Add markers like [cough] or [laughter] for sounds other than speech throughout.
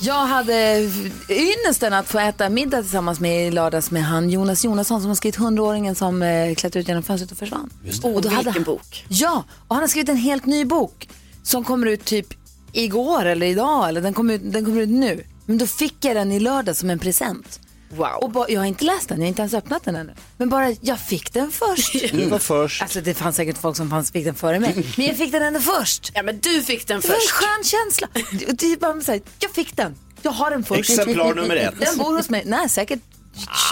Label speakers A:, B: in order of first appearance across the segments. A: Jag hade ynnesten att få äta middag tillsammans med i lördags med han Jonas Jonasson som har skrivit 100-åringen som eh, klättrade ut genom fönstret och försvann. Och då hade han, bok. Ja, och han har skrivit en helt ny bok som kommer ut typ igår eller idag eller den kommer ut, den kommer ut nu. Men då fick jag den i lördag som en present. Wow. Och ba, jag har inte läst den, jag har inte ens öppnat den ännu. Men bara jag fick den
B: [laughs]
A: först.
B: Mm.
C: Du var först.
A: Alltså det fanns säkert folk som fanns, fick den före mig. Men jag fick den ändå först.
B: Ja, men du fick den
A: Det var en
B: först.
A: skön känsla. Och Det är bara så här, jag fick den. Jag har den först. [laughs]
C: Exemplar nummer ett.
A: Den bor hos mig. Nej, säkert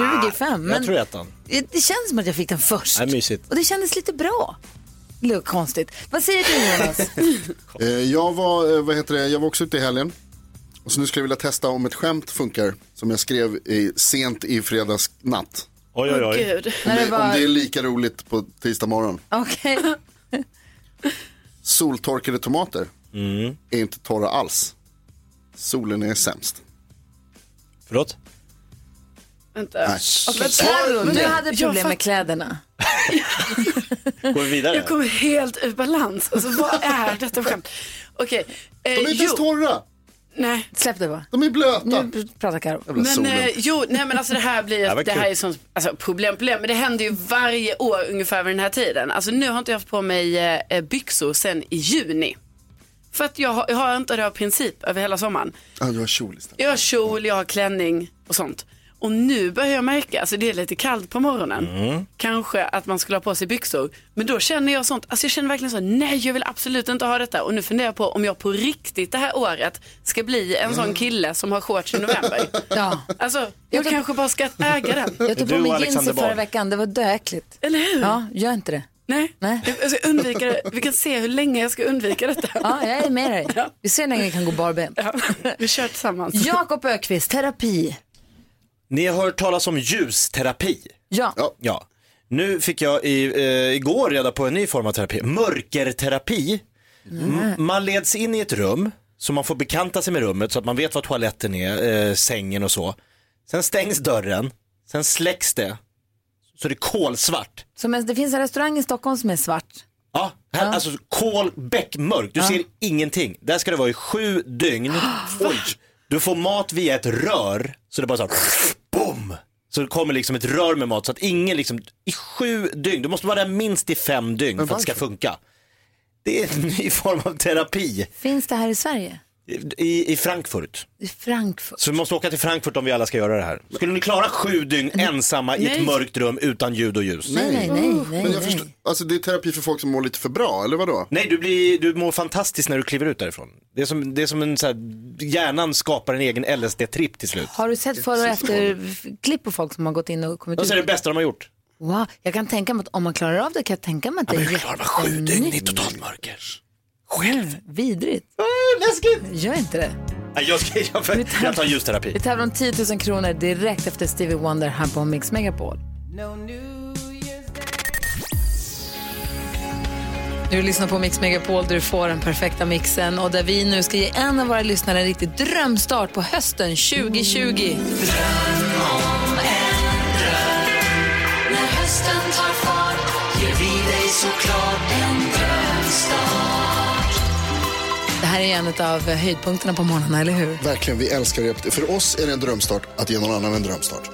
B: Ah,
A: 25.
C: Ah, Jag
A: Men
C: tror jag äter den.
A: det känns som att jag fick den först.
C: Nej, mysigt.
A: Och det kändes lite bra. Lite konstigt. Vad säger du Jonas?
D: Eh, Jag var, eh, vad heter det, jag var också ute i helgen. Och så nu skulle jag vilja testa om ett skämt funkar som jag skrev i, sent i fredags natt.
C: Oj, oj, oj.
B: Gud.
A: När det
D: Om det- Om det är
A: var...
D: lika roligt på tisdag morgon.
A: Okej.
D: Soltorkade tomater
C: Mm.
D: är inte torra alls. Solen är sämst.
C: Förlåt?
B: Vänta. Okej,
A: Carro, du
B: vänta.
A: hade
B: Jag
A: problem med
B: [laughs]
A: kläderna.
C: Går vi
B: fatt-
C: vidare?
B: Jag kommer helt ur balans. Alltså, vad är detta för skämt? Okej. Eh,
D: De är inte ens
B: jo,
D: torra,
B: nej,
A: Släpp det bara.
D: de är [laughs] blöta.
A: Nu pratar Carro.
D: Jävla
B: men, eh,
D: solen.
B: jo, nej men alltså det
D: [laughs]
B: här blir,
C: Det var
B: det, här
C: kul.
B: är som, alltså problem, problem, men det händer ju varje år ungefär vid den här tiden. Alltså nu har inte jag haft på mig eh, byxor sen i juni. För att jag har, jag har inte det av princip över hela sommaren.
D: Ja, du har kjol istället.
B: Jag har kjol, jag har klänning och sånt. Och nu börjar jag märka, alltså det är lite kallt på morgonen.
C: Mm.
B: Kanske att man skulle ha på sig byxor. Men då känner jag sånt, alltså jag känner verkligen så, nej jag vill absolut inte ha detta. Och nu funderar jag på om jag på riktigt det här året ska bli en sån kille som har shorts i november.
A: [laughs] Ja.
B: Alltså, jag kanske bara ska
C: [laughs]
B: äga den.
A: Jag tog
C: Du
A: på mig
C: och
A: jeans i
C: Alexander
A: förra
C: Bard.
A: veckan. Det var döäckligt.
B: Eller hur?
A: Ja, gör inte det.
B: Nej,
A: Nej.
B: Jag, alltså, jag undviker det. Vi kan se hur länge jag ska undvika detta.
A: Ja, jag är med dig. Vi ser hur länge vi kan gå barbent.
B: Ja, Vi kör tillsammans.
A: Jakob Ökvist, terapi.
C: Ni har hört talas om ljusterapi.
A: Ja.
D: Ja.
C: Ja. Nu fick jag i, eh, igår reda på en ny form av terapi. Mörkerterapi. M- Man leds in i ett rum så man får bekanta sig med rummet så att man vet var toaletten är, eh, sängen och så. Sen stängs dörren, sen släcks det. Så det är kolsvart.
A: Som en, det finns en restaurang i Stockholm som är svart.
C: Ja, här, alltså kol, bäckmörkt. Du ser ingenting. Där ska det vara i sju dygn. Oj. Du får mat via ett rör, så det bara så här, boom! Så det kommer liksom ett rör med mat så att ingen liksom, i sju dygn, du måste vara där minst i fem dygn för att det ska funka. Det är en [laughs] ny form av terapi
A: Finns det här i Sverige?
C: i, i Frankfurt.
A: I Frankfurt.
C: Så vi måste åka till Frankfurt om vi alla ska göra det här. Skulle ni klara sju dygn ensamma i ett
B: Nej.
C: mörkt rum utan ljud och ljus?
A: Nej, nej, nej. nej,
D: Men jag
A: nej.
D: förstår, alltså det är terapi för folk som mår lite för bra, eller vadå?
C: Nej, du, blir, du mår fantastiskt när du kliver ut därifrån. Det är som, det är som en så här, hjärnan skapar en egen LSD-tripp till slut.
A: Har du sett före och efter klipp på folk som har gått in och kommit
C: Och
A: ut?
C: så är det bästa de har gjort.
A: Wow, jag kan tänka mig att om man klarar av det kan jag tänka mig att det är jättenytt.
C: i totalt mörker.
A: Själv? Vidrigt.
C: läskigt!
A: Gör inte det.
C: Nej, jag, ska, jag, jag tar ljusterapi.
A: Vi tävlar om 10 000 kronor direkt efter Stevie Wonder här på Mix Megapol. Du lyssnar på Mix Megapol där du får den perfekta mixen och där vi nu ska ge en av våra lyssnare en riktig drömstart på hösten 2020. Det här är en av höjdpunkterna på morgonen, eller hur?
D: Verkligen, vi älskar det. För oss är det en drömstart att ge någon annan en drömstart.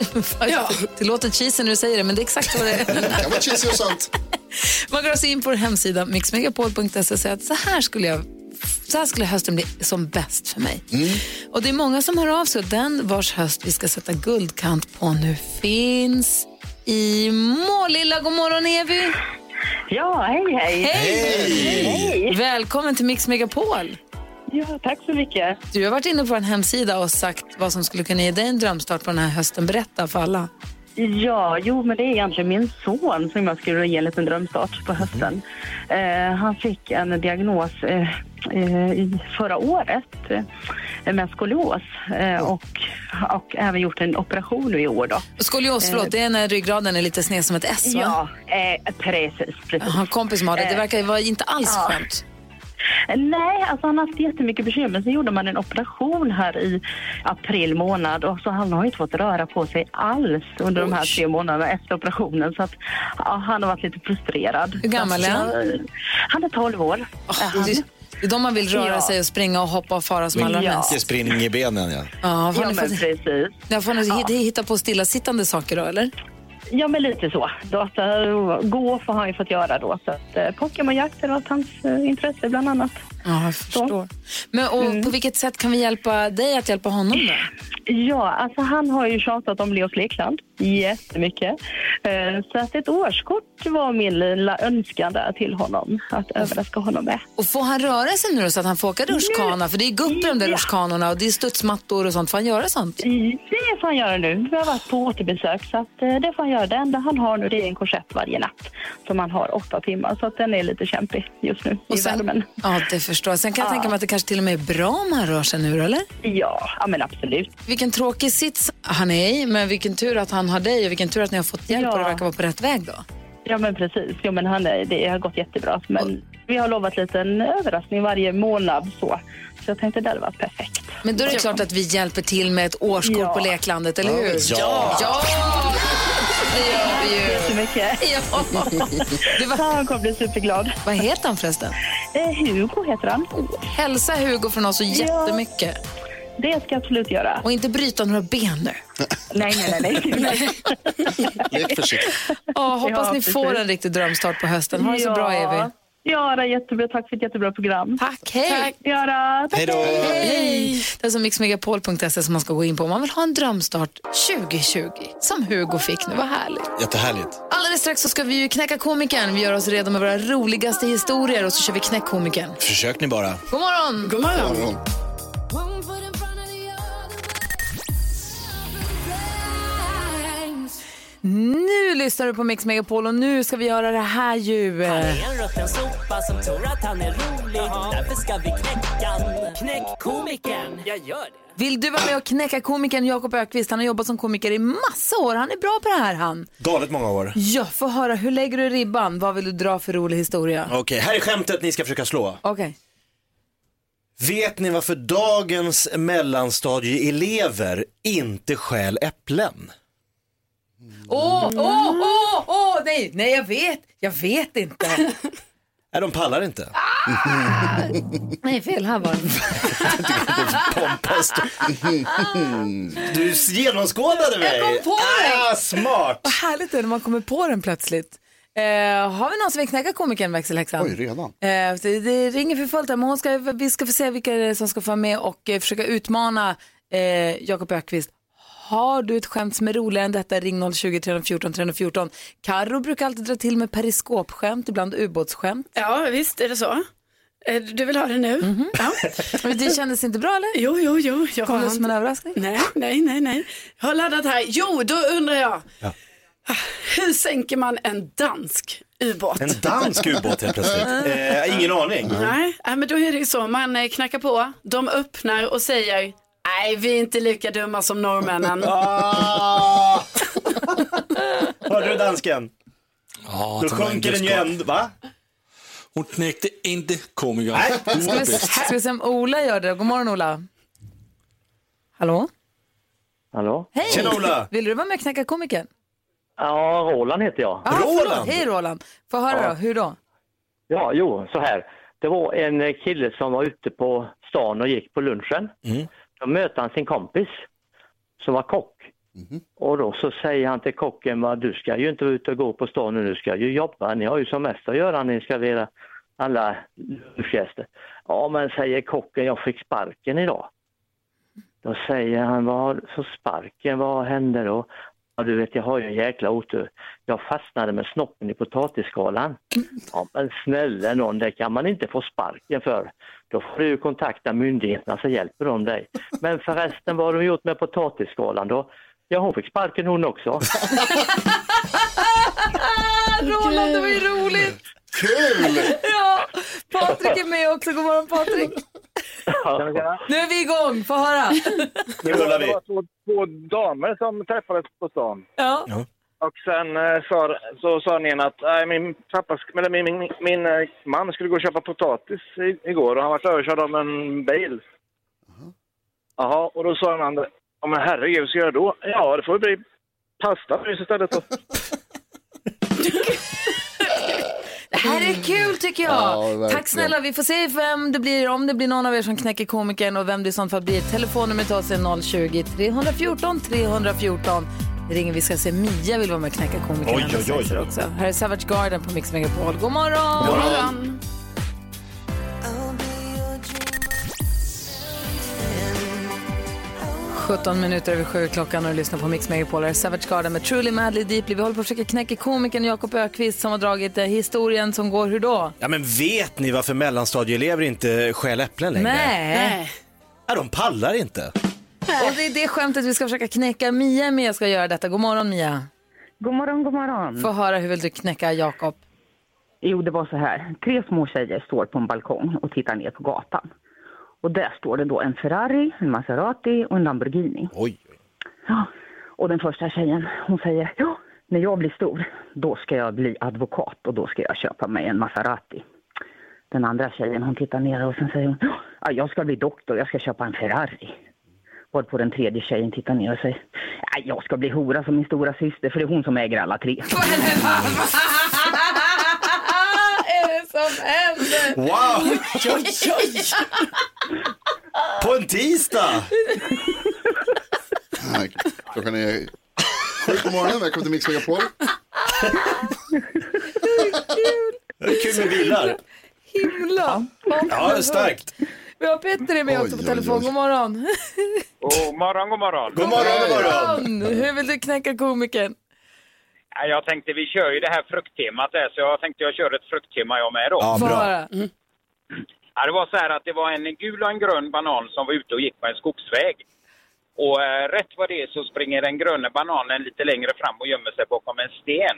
A: Ja. [laughs] Det låter cheesy när du säger det, men det är exakt vad det är.
D: Det kan vara cheesy och sant.
A: [laughs] Man går alltså in på vår hemsida mixmegapol.se och säger att så här skulle jag så här skulle hösten bli som bäst för mig.
D: Mm.
A: Och det är många som hör av sig och den vars höst vi ska sätta guldkant på nu finns i mål. Lilla god morgon Evy!
E: Ja, hej hej.
A: Hej! Välkommen till Mix Megapol!
E: Ja, tack så mycket.
A: Du har varit inne på vår hemsida och sagt vad som skulle kunna ge dig en drömstart på den här hösten. Berätta för alla.
E: Ja, jo, men det är egentligen min son som jag skulle ge en liten drömstart på hösten. Eh, han fick en diagnos eh, eh, i förra året eh, med skolios eh, och, och även gjort en operation nu i år. Då.
A: Skolios, förlåt, det är när ryggraden är lite sned som ett S, va?
E: Eh. Ja, eh, precis. precis. Eh.
A: Jag har en kompis som har det. Det verkar ju vara inte alls
E: Ja.
A: skönt.
E: Nej, alltså han har haft jättemycket bekymmer. Sen gjorde man en operation här i april månad och så han har ju inte fått röra på sig alls under de här
A: Oj.
E: tre månaderna efter operationen. Så att, ja, han har varit lite frustrerad.
A: Hur gammal är han?
E: Eh, Han är 12 år. Är han.
A: Det är de man vill röra
E: Ja.
A: sig och springa och hoppa och fara som allra
E: Ja.
A: mest.
C: Det springer i benen ja.
A: Ja, har
E: Ja,
A: ni
E: men
A: fått,
E: precis.
A: ja, får ni hit- hitta på stillasittande saker då, eller?
E: Ja, men lite så. Då att, eh, gå får han ju fått göra då. Så att, eh, Pokémonjakt har varit hans eh, intresse bland annat. Mm.
A: Ja, jag förstår. Men, och På vilket sätt kan vi hjälpa dig att hjälpa honom då?
E: Ja, alltså han har ju tjatat om Leos Lekland jättemycket. Eh, Så att ett årskort var min lilla önskan där till honom, att överraska honom med.
A: Och får han röra sig nu då så att han får åka rutschkana? För det är gupp i de där
E: Ja.
A: rutschkanorna och det är studsmattor och sånt. Får han göra sånt?
E: Det får han göra nu. Vi har varit på återbesök, så att eh, det får han göra. Det enda han har nu det är en korsett varje natt som han har åtta timmar, så att den är lite kämpig just nu i värmen.
A: ja, det förstår jag. Sen kan jag tänka mig att det kanske till och med är bra om han rör sig nu, eller?
E: Ja, ja, men absolut.
A: Vilken tråkig sits han är i, men vilken tur att han har dig och vilken tur att ni har fått hjälp
E: Ja.
A: och det verkar vara på rätt väg då.
E: Ja, men precis. Jo, men han är, det har gått jättebra. Men vi har lovat lite en överraskning varje månad, så, så jag tänkte det hade varit perfekt.
A: Men då är det klart att vi hjälper till med ett årskort
E: Ja.
A: på leklandet, eller hur?
C: Ja.
A: Ja! Det gör vi ju.
E: Så
A: [laughs]
E: mycket.
A: Ja. Det var,
E: Ja, han kommer bli superglad.
A: vad heter han förresten?
E: Eh, Hugo heter han.
A: Hälsa Hugo från oss så jättemycket.
E: Det ska jag absolut göra.
A: Och inte bryta några ben nu.
E: [laughs] Nej, nej,
A: [laughs]
E: nej. nej.
D: Lek försiktigt.
A: Ja, hoppas
E: Ja,
A: ni
E: precis.
A: får en riktig drömstart på hösten. Ha det så bra,
E: Ja.
A: Evi.
E: Ja, det är jättebra. Tack för ett jättebra program.
A: Tack, hej.
B: Tack.
E: Ja, då. Tack.
C: Hej då.
A: Hej! Det är alltså mixmegapol.se som man ska gå in på om man vill ha en drömstart 2020, som Hugo fick nu. Vad härligt.
C: Jättehärligt.
A: Alldeles strax så ska vi ju knäcka komikern. Vi gör oss redo med våra roligaste historier och så kör vi knäck komikern.
C: Försök ni bara.
A: God morgon!
B: God morgon.
A: Nu lyssnar du på Mix Megapol och nu ska vi göra det här ju.
F: En rutten sopa som tror att han är rolig Därför ska vi knäcka han. Knäck komikern Jag gör det
A: Vill du vara med och knäcka komikern Jakob Ökvist? Han har jobbat som komiker i massa år. Han är bra på det här han.
C: Galet många år.
A: Ja, få höra. Hur lägger du ribban? Vad vill du dra för rolig historia?
C: Okej, här är skämtet ni ska försöka slå.
A: Okej.
C: Vet ni varför dagens mellanstadieelever inte stjäl äpplen?
A: Åh, åh, åh, åh, nej, nej, jag vet, jag vet
B: [laughs]
A: inte.
C: Nej, de pallar inte.
A: Ah!
C: [laughs]
A: Nej, fel här var det.
C: Pompöst. Du genomskådade mig.
A: Jag kom på det.
C: Ah, smart.
A: Vad härligt det är när man kommer på den plötsligt. Eh, har vi någon som vill knäcka komikern växelhäxan?
D: Oj, redan?
A: Eh, det, det ringer för fullt här, men hon ska, vi ska få se vilka det är som ska få vara med och eh, försöka utmana eh, Jakob Ökvist. Har du ett skämt som är roligare än detta, ring 020 314 314. Karo brukar alltid dra till med periskopskämt, ibland ubåtsskämt.
B: Ja, visst är det så. Eh, Du vill ha det nu?
A: [laughs]
B: Ja.
A: Mhm. Det kändes inte bra eller?
B: Jo, jo, jo. Jag
A: Kom
B: har
A: det som en
B: inte-
A: överraskning?
B: Nej, nej, nej, nej. Jag har laddat här. Jo, då undrar jag. Ah, Hur sänker man en dansk ubåt?
C: En dansk ubåt helt
B: [laughs]
C: plötsligt. Eh, ingen aning.
B: Nej, nej, men då är det ju så. Man eh, knackar på, de öppnar och säger Nej, vi är inte lika dumma som norrmännen.
C: Ah! Hörde du dansken?
G: Ja,
C: Då
G: det var
C: sjunker
G: inte
C: den ju
G: skott.
C: ändå, va?
G: Hon knäckte inte komikern.
C: Nej.
G: Hon var
A: Ska vi,
G: bäst.
A: ska vi se om Ola gör det? God morgon Ola. Hallå?
F: Hallå?
A: Hej!
C: Tjena, Ola.
A: Vill du vara med och knäcka komikern?
F: Ja, Roland heter jag.
A: Ah,
C: Roland.
A: förlåt. Hej Roland! Få höra då, hur då?
F: Ja, jo, så här. Det var en eh, kille som var ute på stan och gick på lunchen.
C: Mm.
F: Då mötte han sin kompis som var kock.
C: Mhm.
F: Och då så säger han till kocken, "Va, du ska ju inte vara ute och gå på stan nu, du ska ju jobba, ni har ju som mest att göra, ni ska vara alla lunchgäster. Ja, men säger kocken, jag fick sparken idag. Då säger han, vad har du för sparken, vad hände då?
H: Ja, du vet, jag har ju en jäkla otur. Jag fastnade med snoppen i potatisskalan. Ja, men snälla någon, det kan man inte få sparken för. Då får du kontakta myndigheterna så hjälper de dig. Men förresten, vad har de gjort med potatisskalan då? Ja, hon fick sparken hon också.
A: Roland, det var ju roligt!
D: Kul!
A: [laughs] Ja, Patrik är med också. God morgon Patrik! Nu är vi igång, få höra!
C: Nu rullar vi.
H: två, två damer som träffades på stan.
A: Ja.
H: Och sen eh, sa, så sa ni att nej, min, pappa, sk- eller min, min, min eh, man skulle gå och köpa potatis i, igår och han var överkörd av en bil. Jaha, och då sa den andra, ja men herregud, vad ska jag göra då? Ja, det får ju bli pastamys istället då.
A: Det här är kul tycker jag.
D: Ja, verkligen.
A: Tack snälla. Vi får se vem det blir, om det blir någon av er som knäcker komikern och vem det i sånt fall blir. Telefonnumret till oss är 020-314 314. Det ringer vi ska se Mia vill vara med och knäcka komikern.
C: Oj,
A: alldeles
C: oj, oj.
A: strax Också. Här är Savage Garden på Mix Megapol. God morgon!
B: Morgon.
I: I'll be your dream.
A: 17 minuter över sju klockan och du lyssnar på Mix Megapol. Här är Savage Garden med Truly Madly Deeply. Vi håller på att försöka knäcka komikern Jakob Ökvist som har dragit eh, historien som går hur då?
C: Ja men vet ni varför mellanstadieelever inte stjäl äpplen längre?
A: Nej.
B: Nej.
C: Ja, de pallar inte.
A: Och det är det skämtet vi ska försöka knäcka. Mia är med och ska göra detta. God morgon Mia!
J: God morgon, god morgon.
A: Få höra, hur vill du knäcka Jakob?
J: Jo, det var så här. Tre små tjejer står på en balkong och tittar ner på gatan. Och där står det då en Ferrari, en Maserati och en Lamborghini.
C: Oj.
J: Ja. Och den första tjejen, hon säger ja, när jag blir stor, då ska jag bli advokat och då ska jag köpa mig en Maserati. Den andra tjejen, hon tittar ner och sen säger hon, ja, jag ska bli doktor, jag ska köpa en Ferrari. Varpå den tredje tjejen tittar ner och säger, ja, jag ska bli hora som min stora syster, för det är hon som äger alla
A: [laughs]
J: tre.
A: är det som händer?
C: Wow! På en tisdag!
D: Nej, Klockan är sju på morgonen, välkommen till Mix Megapol.
C: Det är kul med bilar.
A: Himla!
C: Ja, det är starkt.
A: Vi har Petter är med
D: Oj,
A: också på
D: oj,
A: telefon.
D: oj.
A: God morgon.
H: God morgon, god morgon.
C: God morgon, god morgon.
A: Morgon. Hur vill du knäcka komikern? [laughs]
H: Ja, Jag tänkte vi kör ju det här frukttemat där, så jag tänkte jag kör ett frukttema jag med då.
C: Ja, bra.
A: Bara.
H: Ja, det var så här att det var en gul och en grön banan som var ute och gick på en skogsväg. Och eh, rätt vad det är så springer den gröna bananen lite längre fram och gömmer sig bakom en sten.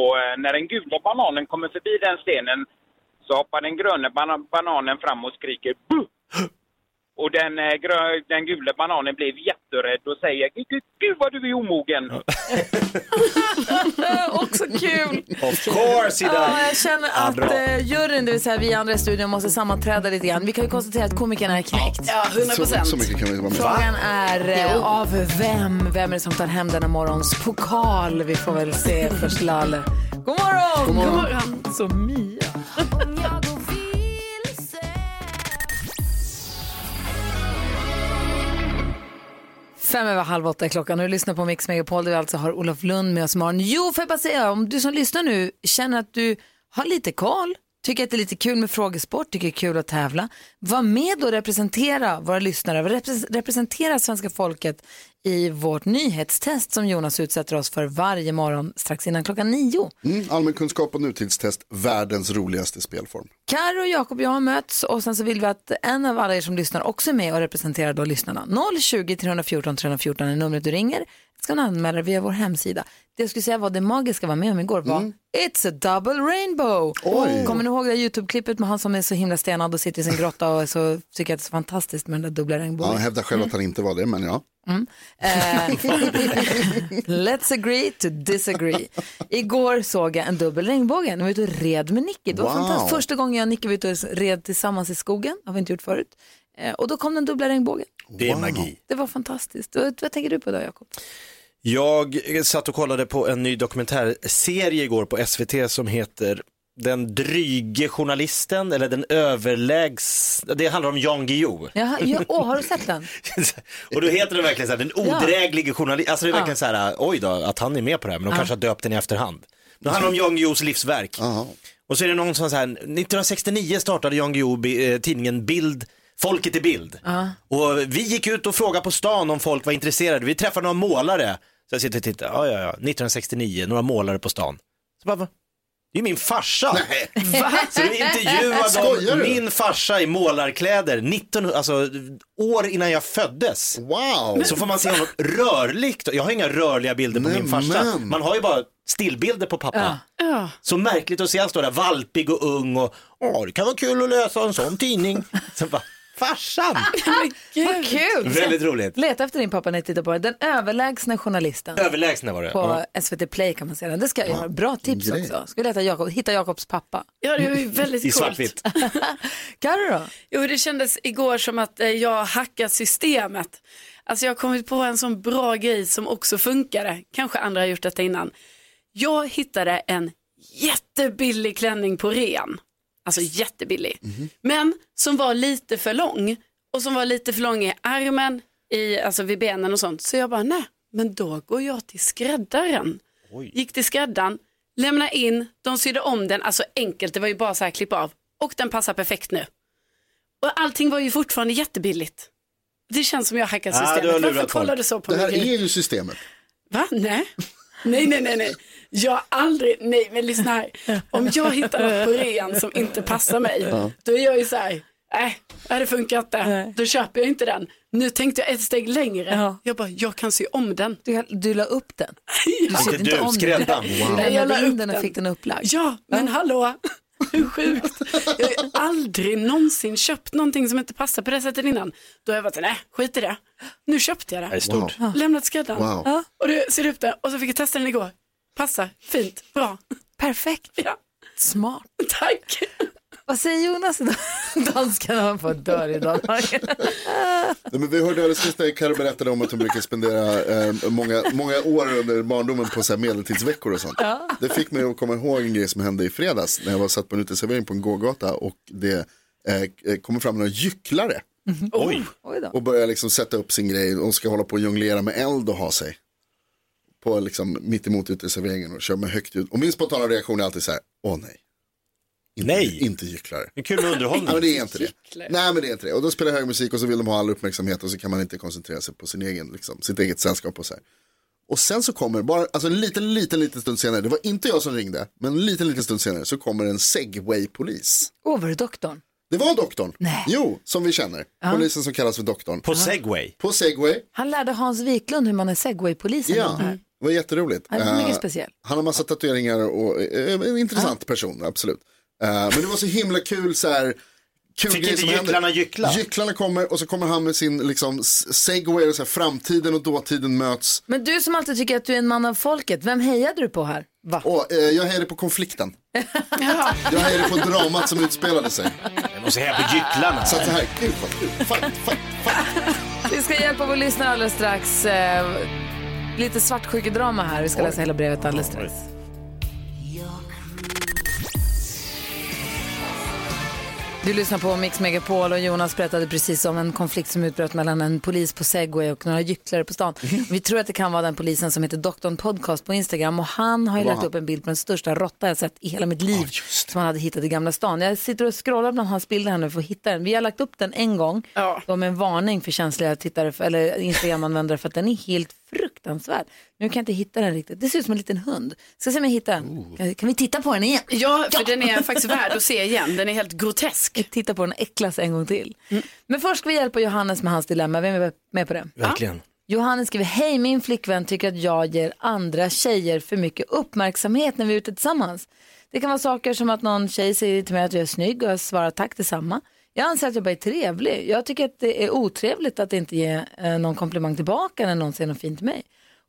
H: Och eh, när den gula bananen kommer förbi den stenen så hoppar den gröna bana- bananen fram och skriker bu! Och den, eh, grö- den gula bananen blev jätterädd och säger "Gud, gud, Gud vad du är omogen!
A: Äh, Också kul!
C: Of course, Ida.
A: Ja, jag känner att
C: bra.
A: eh, juryn, det vill säga vi andra i studion, måste sammanträda lite grann. Vi kan ju konstatera att komikern är knäckt.
B: Ja, 100
D: Så,
B: procent.
D: så mycket kan vi vara med.
A: Frågan är eh, av vem? Vem är det som tar hem denna morgons pokal? Vi får väl se först Lalle. God morgon! God morgon. Så Mia.
I: Om jag går vilse.
A: Fem över halv åtta är klockan och du lyssnar på Mix Megapol där vi alltså har Olof Lund med oss imorgon. Jo, får jag bara säga, om du som lyssnar nu känner att du har lite koll, tycker att det är lite kul med frågesport, tycker det är kul att tävla, var med och representera våra lyssnare, repres- representera svenska folket i vårt nyhetstest som Jonas utsätter oss för varje morgon strax innan klockan nio.
D: Mm, allmän kunskap och nutidstest, världens roligaste spelform.
A: Karo, Jakob och jag har mötts och sen så vill vi att en av alla er som lyssnar också är med och representerar då lyssnarna. 020 314 314 är numret du ringer. Det ska ni anmäla er via vår hemsida. Det jag skulle säga var det magiska var med om igår var It's a double rainbow. Oh. Kommer ni ihåg det här YouTube-klippet med han som är så himla stenad och sitter i sin grotta och är så, tycker att det är så fantastiskt med den där dubbla
D: Ja,
A: regnbågen?
D: han hävdar själv att han inte var det, men ja.
A: Eh, [laughs] Let's agree to disagree. Igår såg jag en dubbel regnbåge. Jag var ute och red med Nicky. Det var
D: Wow.
A: fantastiskt. Första gången jag och Nicky var ute och red tillsammans i skogen. har vi inte gjort förut. Eh, och då kom den dubbla regnbågen.
C: Det är magi.
A: Det var fantastiskt. Vad, vad tänker du på då, Jakob?
C: Jag satt och kollade på en ny dokumentärserie igår på SVT som heter Den dryge journalisten eller den överlägs... Det handlar om Jan Guillou.
A: Jaha, ja, åh, har du sett [laughs] den?
C: [laughs] och då heter den verkligen så här, den odräglige journalisten. Alltså det är verkligen så här, oj då, att han är med på det här, men de kanske har döpt den i efterhand. Det handlar om Jan Guillous livsverk. Och så är det någon som så här, 1969 startade Jan Guillou bi- eh, tidningen Bild, Folket i bild. Och vi gick ut och frågade på stan om folk var intresserade. Vi träffade några målare. Så jag sitter och tittar, ja ja ja, 1969, några målare på stan. Så bara, va? Det är min farsa! [laughs] Va? Så vi
D: [laughs]
C: intervjuade
D: Skojar
C: om
D: du?
C: min farsa i målarkläder, 1900, alltså år innan jag föddes.
D: Wow!
C: Så får man se honom rörligt, jag har inga rörliga bilder på
D: Nej,
C: min farsa,
D: men.
C: man har ju bara stillbilder på pappa.
B: Ja.
C: Så märkligt att se han stå där valpig och ung och åh det kan vara kul att läsa en sån tidning. Sen bara, farsan!
A: Vad kul!
C: Väldigt roligt.
A: Leta efter din pappa när jag tittar på det. Den överlägsna journalisten
C: Överlägsna var det.
A: på SVT Play kan man säga. Det ska jag göra. Bra tips
D: Grej.
A: också. Ska vi leta Jakob, hitta Jakobs pappa.
B: Ja, det var ju väldigt
C: I
B: coolt.
C: svartvitt.
A: Carro då?
B: Jo, det kändes igår som att eh, jag har hackat systemet. Alltså jag har kommit på en sån bra grej som också funkade. Kanske andra har gjort detta innan. Jag hittade en jättebillig klänning på rean. Alltså jättebillig. Men som var lite för lång. Och som var lite för lång i armen, i, alltså vid benen och sånt. Så jag bara, nej, men då går jag till skräddaren. Gick till skräddaren, lämnade in, de sydde om den, alltså enkelt, det var ju bara så här klipp av. Och den passar perfekt nu. Och allting var ju fortfarande jättebilligt. Det känns som jag hackar
C: Ah, du har
B: systemet.
C: lurat
B: Varför
C: folk.
B: kollar du så på
D: Det här
B: mig?
D: är ju systemet.
B: Va? Nej. Nej, nej, nej, nej. Jag har aldrig, nej men lyssna här. Om jag hittar något på rean som inte passar mig, då är jag ju så här, nej, äh, det funkar inte, då köper jag inte den. Nu tänkte jag ett steg längre,
A: Ja.
B: jag bara, jag kan sy om den.
A: Du, du la upp
B: [laughs]
A: den. Du
C: Inte
A: sydde
C: du,
A: om den.
C: skräddaren.
A: Du
C: Wow.
B: Jag la
A: lämnade in
B: upp
A: den och
B: den.
A: fick den upplagd.
B: Ja,
A: [laughs]
B: men hallå, hur sjukt. Jag har ju aldrig någonsin köpt någonting som inte passar på det sättet innan. Då har jag varit, nej, skit i det. Nu köpte jag det.
C: Det är stort.
B: Lämnat skräddaren.
D: Wow.
B: Och du ser upp det och så fick jag testa den igår. Passar, fint, bra.
A: Perfekt,
B: Ja,
A: smart.
B: tack.
A: Vad säger Jonas idag? [laughs] Dansken har fått dör idag.
D: Nej, men vi hörde alldeles nyss när Carro berättade om att hon brukar spendera eh, många, många år under barndomen på så här medeltidsveckor och sånt. Det fick mig att komma ihåg en grej som hände i fredags när jag var satt på en uteservering på en gågata och det eh, kommer fram några gycklare
C: Oj.
A: Oj då.
D: och börjar liksom sätta upp sin grej och ska hålla på och jonglera med eld och ha sig. På liksom mitt emot uteserveringen och kör med högt ljud. Och min spontana reaktion är alltid så här, åh nej. Inte,
C: Nej.
D: Inte gycklare.
C: Det är kul med
D: Ja, men
C: underhållning.
D: det är inte det. Nej, men det är inte det. Och då spelar jag hög musik och så vill de ha all uppmärksamhet och så kan man inte koncentrera sig på sin egen, liksom, sitt eget sällskap och så här. Och sen så kommer, bara, alltså en liten, liten, liten stund senare, det var inte jag som ringde, men en liten, liten stund senare så kommer en segway-polis.
A: Åh, var det doktorn?
D: Det var doktorn.
A: Nej.
D: Jo, som vi känner. Polisen som kallas för doktorn.
C: På segway.
D: På segway,
A: Han lärde Hans Wiklund hur man är segwaypolisen. Mm.
D: ja. Det var jätteroligt.
A: Han är mycket
D: Eh,
A: speciell.
D: Han har massa tatueringar och eh, en intressant person, absolut. Eh, men det var så himla kul så här. Kul
C: Fick
D: grej
C: inte
D: som händer.
C: gycklarna gyckla?
D: Gycklarna kommer och så kommer han med sin liksom s- segway och så här, framtiden och dåtiden möts.
A: Men du som alltid tycker att du är en man av folket, vem hejade du på här? Va?
D: Och eh, jag hejade på konflikten. jag hejade på dramat som utspelade sig.
C: Jag måste heja på gycklarna.
D: Så att så här, gud vad kul, fight, fight, fight.
A: Vi ska hjälpa vår lyssnare alldeles strax. Eh, lite svartsjukedrama här. Vi ska läsa hela brevet alldeles strax. Du lyssnar på Mix Megapol och Jonas berättade precis om en konflikt som utbröt mellan en polis på Segway och några gycklare på stan. Vi tror att det kan vara den polisen som heter Doktorn Podcast på Instagram och han har ju lagt upp en bild på den största råtta jag sett i hela mitt liv som han hade hittat i Gamla stan. Jag sitter och scrollar bland hans bilder här nu för att hitta den. Vi har lagt upp den en gång.
B: Ja.
A: De är en varning för känsliga tittare för, eller Instagram-användare för att den är helt fruktansvärd. Nu kan jag inte hitta den riktigt. Det ser ut som en liten hund. Ska se om jag hittar den. Kan- Kan vi titta på den igen?
B: Ja, för den är faktiskt värd att se igen. Den är helt grotesk.
A: Titta på den och äcklas en gång till. Men först ska vi hjälpa Johannes med hans dilemma. Vem är med på det?
C: Verkligen.
A: Johannes skriver, hej min flickvän tycker att jag ger andra tjejer för mycket uppmärksamhet när vi är ute tillsammans. Det kan vara saker som att någon tjej säger till mig att jag är snygg och jag svarar tack detsamma. Jag anser att jag bara är trevlig. Jag tycker att det är otrevligt att inte ge eh, någon komplimang tillbaka när någon säger något fint till mig.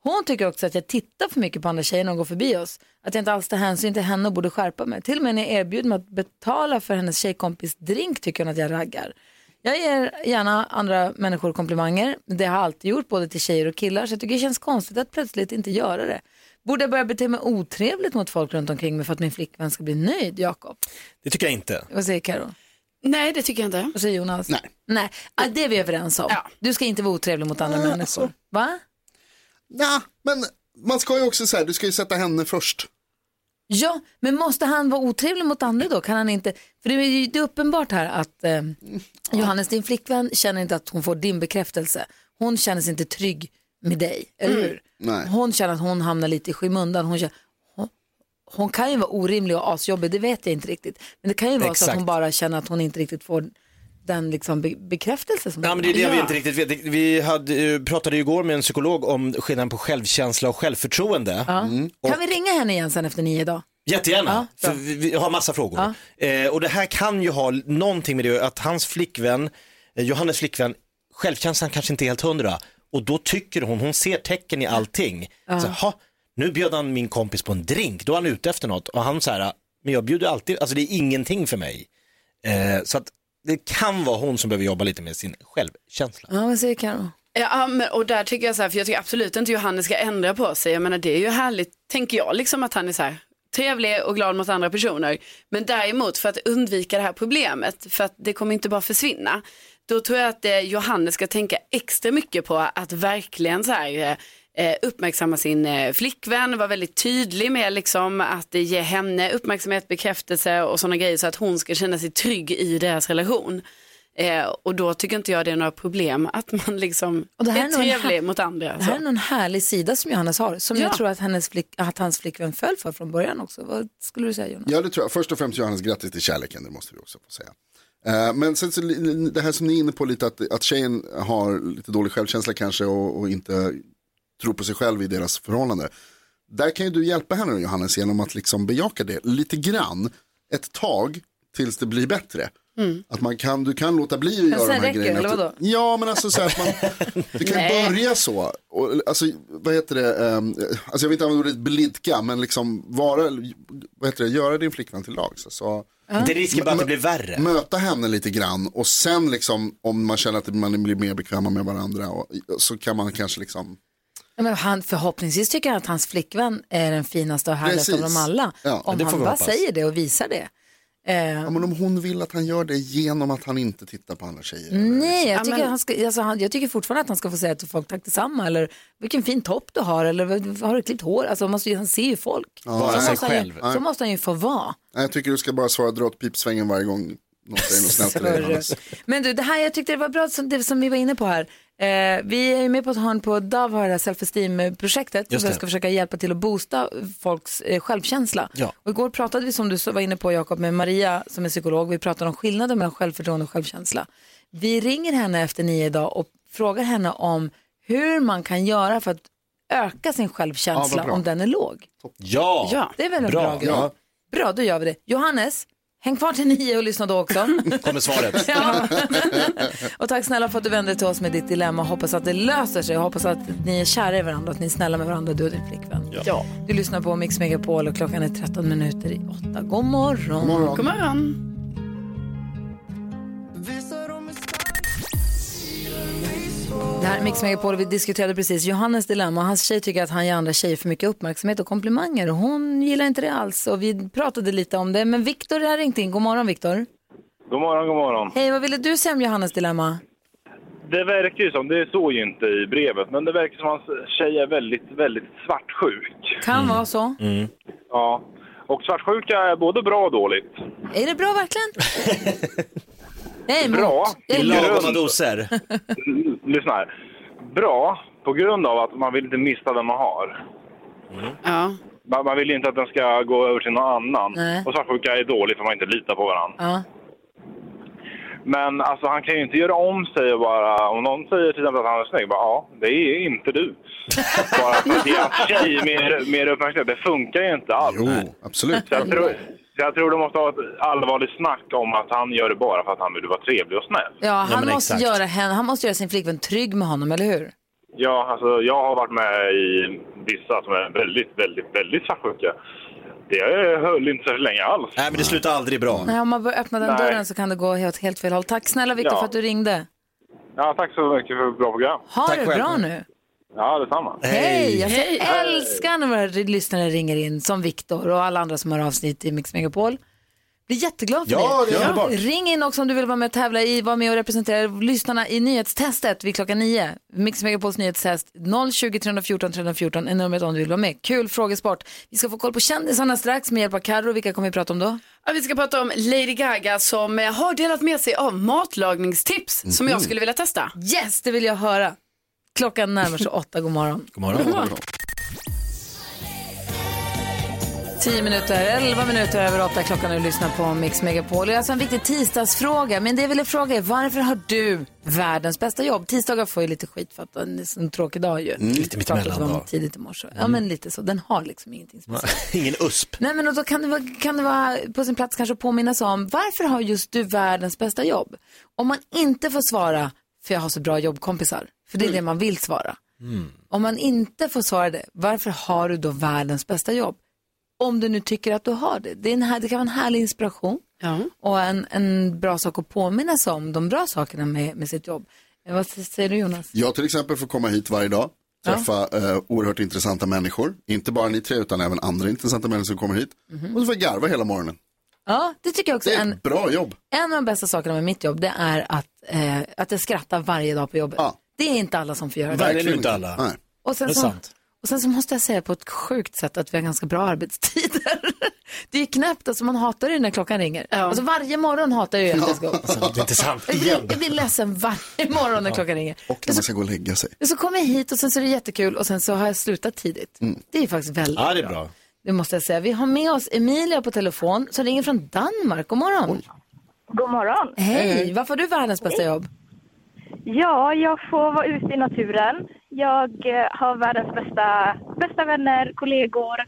A: Hon tycker också att jag tittar för mycket på andra tjejer när de går förbi oss. Att jag inte alls tar hänsyn till henne och borde skärpa mig. Till och med när jag erbjuder mig att betala för hennes tjejkompis drink tycker hon att jag raggar. Jag ger gärna andra människor komplimanger. Det har jag alltid gjort, både till tjejer och killar. Så jag tycker det känns konstigt att plötsligt inte göra det. Borde jag börja bete mig otrevligt mot folk runt omkring mig för att min flickvän ska bli nöjd, Jakob?
C: Det tycker jag inte.
A: Vad säger Karo?
B: Nej, det tycker jag inte.
A: Vad säger Jonas? Nej. Nej, ah, det är vi överens om.
B: Ja. Ah, alltså.
A: Du ska inte vara otrevlig mot andra människor. Va?
D: Nja, men man ska ju också så här, du ska ju sätta henne först.
A: Ja, men måste han vara otrevlig mot andra då? Kan han inte? För det är ju det är uppenbart här att eh, Johannes, din flickvän, känner inte att hon får din bekräftelse. Hon känner sig inte trygg med dig, eller
B: Mm.
A: hur?
D: Nej.
A: Hon känner att hon hamnar lite i skymundan. Hon, känner, hon, hon kan ju vara orimlig och asjobbig, det vet jag inte riktigt. Men det kan ju vara så att
C: Exakt.
A: hon bara känner att hon inte riktigt får den liksom be- bekräftelse som
C: Ja,
A: hon
C: men det är det
A: vill ha.
C: vi inte riktigt vet. Vi hade, eh, pratade ju igår med en psykolog om skillnaden på självkänsla och självförtroende. Mm. Och
A: Kan vi ringa henne igen sen efter nio idag?
C: Jättegärna, för vi, vi har massa frågor. Eh, och det här kan ju ha någonting med det att hans flickvän, eh, Johannes flickvän, självkänslan kanske inte är helt hundra. Och då tycker hon, hon ser tecken i allting. Så, "Ha, nu bjöd han min kompis på en drink, då är han ute efter något. Och han så här, men jag bjuder alltid, alltså det är ingenting för mig. Eh, så att det kan vara hon som behöver jobba lite med sin självkänsla.
A: Ja, vad säger Karo?
B: Ja, men, och där tycker jag så här, för jag tycker absolut inte Johannes ska ändra på sig. Jag menar det är ju härligt, tänker jag, liksom att han är så här trevlig och glad mot andra personer. Men däremot för att undvika det här problemet, för att det kommer inte bara försvinna. Då tror jag att eh, Johannes ska tänka extra mycket på att verkligen så här eh, eh, uppmärksamma sin eh, flickvän, vara väldigt tydlig med liksom att eh, ge henne uppmärksamhet, bekräftelse och sådana grejer så att hon ska känna sig trygg i deras relation. Eh, och då tycker inte jag det är några problem att man liksom
A: Och det här är
B: är,
A: nog en här-
B: trevlig mot andra.
A: Det här är någon härlig sida som Johannes har, som jag
B: Ja.
A: tror att, hennes flick, att hans flickvän föll för från början också. Vad skulle du säga Jonas?
D: Ja, det tror jag. Först och främst Johannes, grattis till kärleken, det måste vi också få säga. Eh, Men sen så, li- det här som ni är inne på lite, att, att tjejen har lite dålig självkänsla kanske och, och inte tror på sig själv i deras förhållande. Där kan ju du hjälpa henne Johannes genom att liksom bejaka det lite grann, ett tag, tills det blir bättre. Att man kan, du kan låta bli att göra
A: sen
D: de här
A: Mm. räcker det,
D: grejerna.
A: eller
D: Att-
A: vadå?
D: Ja, men alltså så här att man, [laughs] det kan ju
B: Nej.
D: börja så. Och, alltså, vad heter det, ehm, alltså jag vill inte använda ordet blidka, men liksom vara, vad heter det, göra din flickvän till lags. Alltså,
C: Det riskerar bara att det blir värre.
D: Möta henne lite grann och sen liksom om man känner att man blir mer bekväma med varandra och, så kan man kanske liksom,
A: Ja, men han, förhoppningsvis tycker han att hans flickvän är den finaste och härligaste av
D: Precis.
A: dem alla.
D: Ja,
A: om
C: det får
A: han
C: vi
A: bara
C: hoppas.
A: säger det och visar det. Eh,
D: ja men om hon vill att han gör det genom att han inte tittar på andra tjejer.
A: nej, jag tycker,
B: men-
A: han ska, alltså, han, jag tycker fortfarande att han ska få säga till folk tack detsamma eller vilken fin topp du har eller "Vad- har du klippt hår? Alltså, man måste, ju- han ser ju folk.
D: Vara
A: så,
D: sig
A: måste han ju,
C: själv.
A: så måste han ju få vara.
D: Nej, Jag tycker du ska bara svara dra åt pipsvängen varje gång någon säger något snällt till dig.
A: Större.
D: Johannes.
A: Men du, det här jag tyckte det var bra som, det, som vi var inne på här. Eh, vi är ju med på ett hörn på Dove har det här self-esteem-projektet.
C: Just
A: Där
C: det.
A: ska försöka hjälpa till att boosta folks eh, självkänsla.
C: Ja.
A: Och igår pratade vi, som du så- var inne på Jakob, med Maria som är psykolog. Vi pratade om skillnaden mellan självförtroende och självkänsla. Vi ringer henne efter nio idag och frågar henne om hur man kan göra för att öka sin
D: Ja,
A: självkänsla
D: vad bra.
A: om den är låg.
C: Ja,
B: Ja.
A: Det är väl en bra,
C: Bra,
A: grej?
D: ja.
A: Bra, då gör vi det. Johannes, häng kvar till nio och lyssna då också.
C: kommer
B: [laughs]
C: svaret.
A: Ja. och tack snälla för att du vände dig till oss med ditt dilemma. Hoppas att det löser sig. Hoppas att ni är kära i varandra, att ni är snälla med varandra, du och din flickvän.
B: Ja.
A: Du lyssnar på Mix Megapol och klockan är 13 minuter i 8. God morgon. God morgon.
B: God morgon.
A: Det här är Mix Megapol vi diskuterade precis Johannes dilemma. Hans tjej tycker att han ger andra tjejer för mycket uppmärksamhet och komplimanger. Och Hon gillar inte det alls och vi pratade lite om det. Men Viktor har ringt in. God morgon Viktor.
K: God morgon, god morgon.
A: Hej, vad ville du säga om Johannes dilemma?
K: Det verkar ju som, det står ju inte i brevet, men det verkar som hans tjej är väldigt, väldigt svartsjuk.
A: Kan vara så.
K: Ja. Och svartsjuka är både bra och dåligt.
A: Är det bra
B: [laughs]
A: verkligen? Nej, emot.
K: Bra.
A: Jag är
C: I
A: emot.
C: lagom doser.
K: L- Lyssna här. Bra på grund av att man vill inte mista den man har.
B: Ja.
K: Man, man vill ju inte att den ska gå över till någon annan.
A: Nej.
K: Och svartsjuka är dåligt för man inte litar på varandra.
A: Ja.
K: Men alltså, han kan ju inte göra om sig och bara... Om någon säger till exempel att han är snygg, bara ja, det är inte
A: [laughs]
K: du. bara för att ge hans tjej mer, mer uppmärksamhet. Det funkar ju inte alls.
D: Jo, absolut.
K: Så jag, tror, så jag tror de måste ha ett allvarligt snack om att han gör det bara för att han vill vara trevlig och snäll.
A: Ja, han,
C: men
A: måste
C: exakt. Mm.
A: göra henne, han måste göra sin flickvän trygg med honom, eller hur?
K: Ja, alltså, jag har varit med i vissa som är väldigt, väldigt, väldigt svartsjuka. Det höll inte så länge alls.
C: Nej men det slutar aldrig bra.
A: Nej, om man börjar öppna den
K: Nej.
A: dörren så kan det gå åt helt fel håll. Tack snälla Viktor
K: Ja.
A: för att du ringde.
K: Ja, tack så mycket för ett bra program.
A: Ha
C: Tack
A: det
C: själv.
A: bra nu.
K: Ja, detsamma.
A: Hej! Jag älskar när våra lyssnare ringer in, som Viktor och alla andra som har avsnitt i Mix Megapol. Blir jätteglad för
C: Ja,
A: det.
C: det är underbart.
A: Ring in också om du vill vara med och tävla i, vara med och representera lyssnarna i nyhetstestet vid klockan nio. Mix Megapols nyhetstest 020 314 314 är numret om du vill vara med. Kul frågesport. Vi ska få koll på kändisarna strax med hjälp av Carro. Vilka kommer vi prata om då?
B: Ja, vi ska prata om Lady Gaga som eh, har delat med sig av matlagningstips som jag skulle vilja testa.
A: Yes, det vill jag höra. Klockan närmar sig åtta, god morgon.
C: God morgon.
A: God morgon. Tio minuter, elva minuter över åtta klockan och du lyssnar på Mix Megapol. Det är alltså en viktig tisdagsfråga, men det jag ville fråga är varför har du världens bästa jobb? Tisdagar får ju lite skit för att det är en sån tråkig dag ju.
C: Mm, lite mittemellan
A: Pratat om
C: dag.
A: Tidigt i morse. Ja,
C: Mm.
A: men lite så. Den har liksom ingenting speciellt.
C: Ingen USP.
A: Nej, men och då kan det, vara, kan det vara på sin plats kanske att påminnas om varför har just du världens bästa jobb? Om man inte får svara, för jag har så bra jobbkompisar, för
C: Mm.
A: det är det man vill svara. Om man inte får svara det, varför har du då världens bästa jobb? Om du nu tycker att du har det. Det, är en här, det kan vara en härlig inspiration och en, en bra sak att påminna sig om, de bra sakerna med, med sitt jobb. Eh, Vad säger du Jonas?
D: Jag till exempel får komma hit varje dag, träffa eh, oerhört intressanta människor. Inte bara ni tre utan även andra intressanta människor som kommer hit.
A: Mhm.
D: Och så får jag garva hela morgonen.
A: Ja, det tycker jag också.
D: Det är
A: en,
D: ett bra jobb.
A: En av de bästa sakerna med mitt jobb det är att, eh, att jag skrattar varje dag på jobbet. Det är inte alla som får göra det.
C: Verkligen inte alla.
A: Och sen,
C: Det är
A: så,
C: sant.
A: och sen så måste jag säga på ett sjukt sätt att vi har ganska bra arbetstider. [laughs] Det är ju knäppt, alltså man hatar det när klockan ringer. Alltså varje morgon hatar jag ju att jag ska gå.
C: Det är
A: [laughs]
C: inte sant.
A: Jag blir, jag blir ledsen varje morgon när klockan ringer.
D: Och när man ska gå och lägga sig.
A: Så kommer jag hit och sen så är det jättekul och sen så har jag slutat tidigt.
D: Mm.
A: Det är ju faktiskt väldigt
C: Ja, det är bra.
A: Det måste jag säga. Vi har med oss Emilia på telefon som ringer från Danmark. God morgon.
L: God morgon.
A: Hej, varför har du världens bästa jobb?
L: Ja, jag får vara ute i naturen. Jag eh, har världens bästa, bästa vänner, kollegor.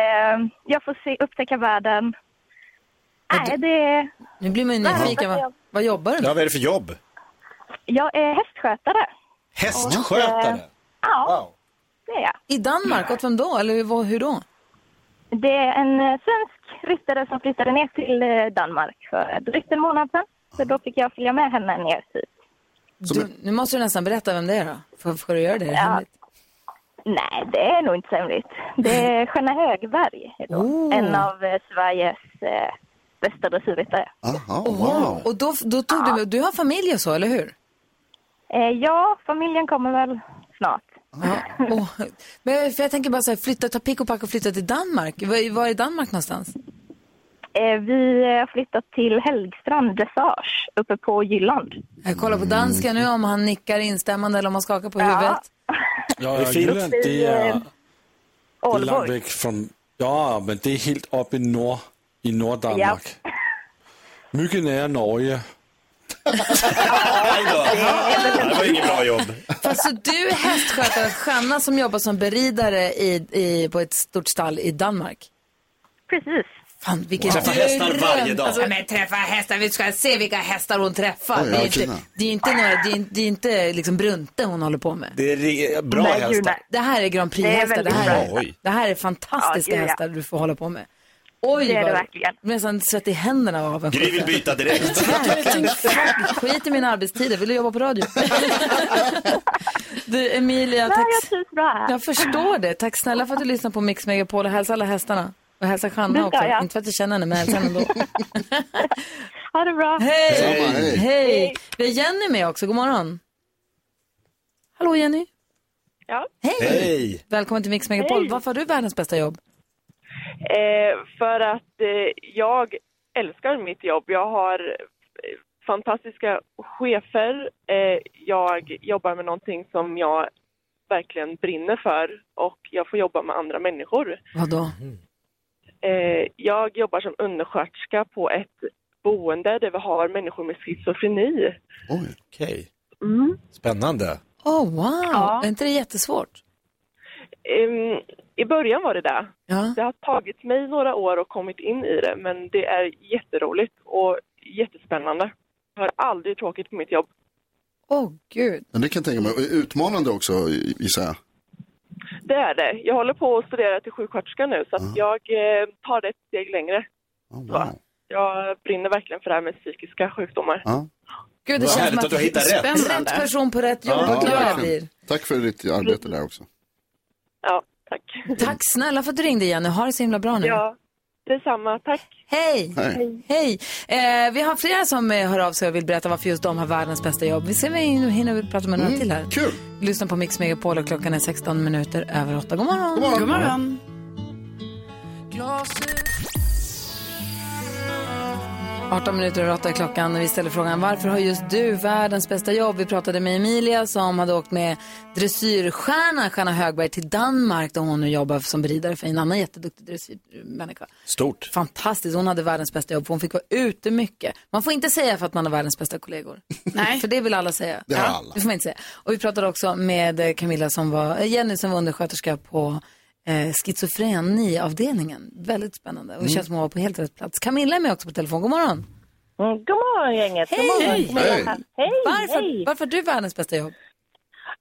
L: Eh, jag får se, upptäcka världen. Nej, det är...
A: Nu blir man ju
L: världens
A: nyfiken. Vad,
L: bästa jobb.
A: vad jobbar du
C: Ja,
A: med?
C: vad är det för jobb?
L: Jag är hästskötare. Och, eh,
C: Hästskötare.
L: Ja, det är jag.
A: I Danmark, åt vem då? Eller hur- vad- hur då?
L: Det är en eh, svensk ryttare som flyttade ner till eh, Danmark för drygt en månad sedan. Så då fick jag följa med henne ner hit.
A: Du, nu måste du nästan berätta vem det är då. Får, får du göra det? Är det
L: Ja.
A: hemligt?
L: Nej, det är nog inte så hemligt. Det är Sköna Högberg, då.
A: Oh.
L: en av eh, Sveriges eh, bästa dressyrryttare.
D: Aha,
A: Wow. Och då, då tog du, du har familj och så, eller hur?
L: Eh, ja, familjen kommer väl snart.
A: Åh, Men för jag tänker bara så här, flytta, ta pick och pack och flytta till Danmark. Var, var är Danmark någonstans?
L: Eh, vi eh, har flyttat till Helgstrand Dressage uppe på Jylland.
A: Jag kollar på
C: Mm.
A: dansken nu om han nickar instämmande eller om han skakar på huvudet.
G: Ja,
A: Det
G: jag
A: är fint.
G: gillar det är, det är
L: Aalborg.
G: langt væk från... Ja, men det är helt uppe i norr, i Norddanmark. Mycket nära Norge.
C: Det var inget bra jobb.
A: [laughs] Fast så du är hästskötare, Shanna som jobbar som beridare i, i, på ett stort stall i Danmark.
L: Precis.
A: Fan, vilken
C: Träffar hästar varje dag.
A: Alltså, men träffa hästar, vi ska se vilka hästar hon träffar.
C: Oj,
A: det, är
C: ja,
A: inte,
C: fina.
A: det är inte, några, det är, inte- det är inte liksom Brunte hon håller på med.
C: Det är re- bra
A: Nej,
C: hästar.
A: gud, nej. Det här är Grand Prix-hästar. Det,
C: väldigt
A: här är-
C: bra. Oj.
A: det här är fantastiska
L: Ja, gud, ja.
A: hästar du får hålla på med. Oj,
L: Det är det
A: vad-
L: verkligen.
A: nästan svett i händerna av en
C: Gry vill byta direkt.
A: Verkligen. Fuck, Skit i mina arbetstider, vill du jobba på radio? [laughs] du, Emilia, tack. Jag
L: trivs bra här.
A: Jag förstår det. Tack snälla för att du lyssnar på Mix Megapol och hälsa alla hästarna. Och hälsa
L: Det
A: Shanna
L: ska
A: också.
L: jag.
A: Inte för att jag känner henne, men hälsa henne ändå.
L: [laughs] Ha det bra.
A: Hej!
L: Detsamma,
A: Hej!
L: hej.
A: Vi har Jenny med också. God morgon. Hallå Jenny.
M: Ja.
A: Hej!
C: Hej!
A: Välkommen till Mix Megapol.
M: Hej.
A: Varför har du världens bästa jobb?
M: Eh, för att eh, jag älskar mitt jobb. Jag har eh, fantastiska chefer. Eh, jag jobbar med någonting som jag verkligen brinner för och jag får jobba med andra människor.
A: Vadå?
C: Mm.
M: Eh, jag jobbar som undersköterska på ett boende där vi har människor med schizofreni.
D: Oj.
C: Okej. Spännande.
A: Oh, wow! Är inte det jättesvårt?
M: Ehm, I början var det det.
A: Ja.
M: Det har tagit mig några år och kommit in i det, men det är jätteroligt och jättespännande. Jag har aldrig tråkigt på mitt jobb.
A: Åh oh, gud.
D: Men det kan jag tänka mig. Och Utmanande också gissar jag.
M: Det är det. Jag håller på att studera till sjuksköterska nu, så att jag eh, tar det ett steg längre. så. Jag brinner verkligen för det här med psykiska sjukdomar.
A: Gud, det
D: Vad
A: känns
D: härligt
A: som
D: att du har hittat rätt.
A: Rätt person på rätt jobb. Vad glad jag blir.
D: verkligen. Tack för ditt arbete där också.
M: Ja, tack.
A: Tack snälla för att du ringde Jenny. Ha det så himla bra nu.
M: Ja, detsamma. Tack.
A: Hej!
D: Hej.
A: Hej. Eh, vi har flera som eh, hör av sig och vill berätta varför just de har världens bästa jobb. Vi ser om vi hinner- hinner prata med några till här.
D: Kul!
A: Lyssna på Mix Megapol och klockan är 16 minuter över 8. God morgon!
B: God morgon. God morgon.
A: 18 minuter över 8 är klockan och vi ställer frågan varför har just du världens bästa jobb? Vi pratade med Emilia som hade åkt med dressyrstjärnan Stjärna Högberg till Danmark där hon nu jobbar som beridare för en annan jätteduktig dressyrmänniska.
C: Stort.
A: Fantastiskt, hon hade världens bästa jobb för hon fick vara ute mycket. Man får inte säga för att man har världens bästa kollegor. Nej. [laughs] För det vill alla säga.
N: Det har alla.
A: Det får man inte säga. Och vi pratade också med eh, Camilla som var, eh, Jenny som var undersköterska på eh, schizofreniavdelningen. Väldigt spännande. Och det
O: Mm.
A: känns som hon var på helt rätt plats. Camilla är med också på telefon. God morgon.
O: Mm, God morgon gänget!
A: Hej!
O: God morgon,
A: Hej!
O: Camilla här. hej!
A: Varför-
O: hej.
A: varför har du världens bästa jobb?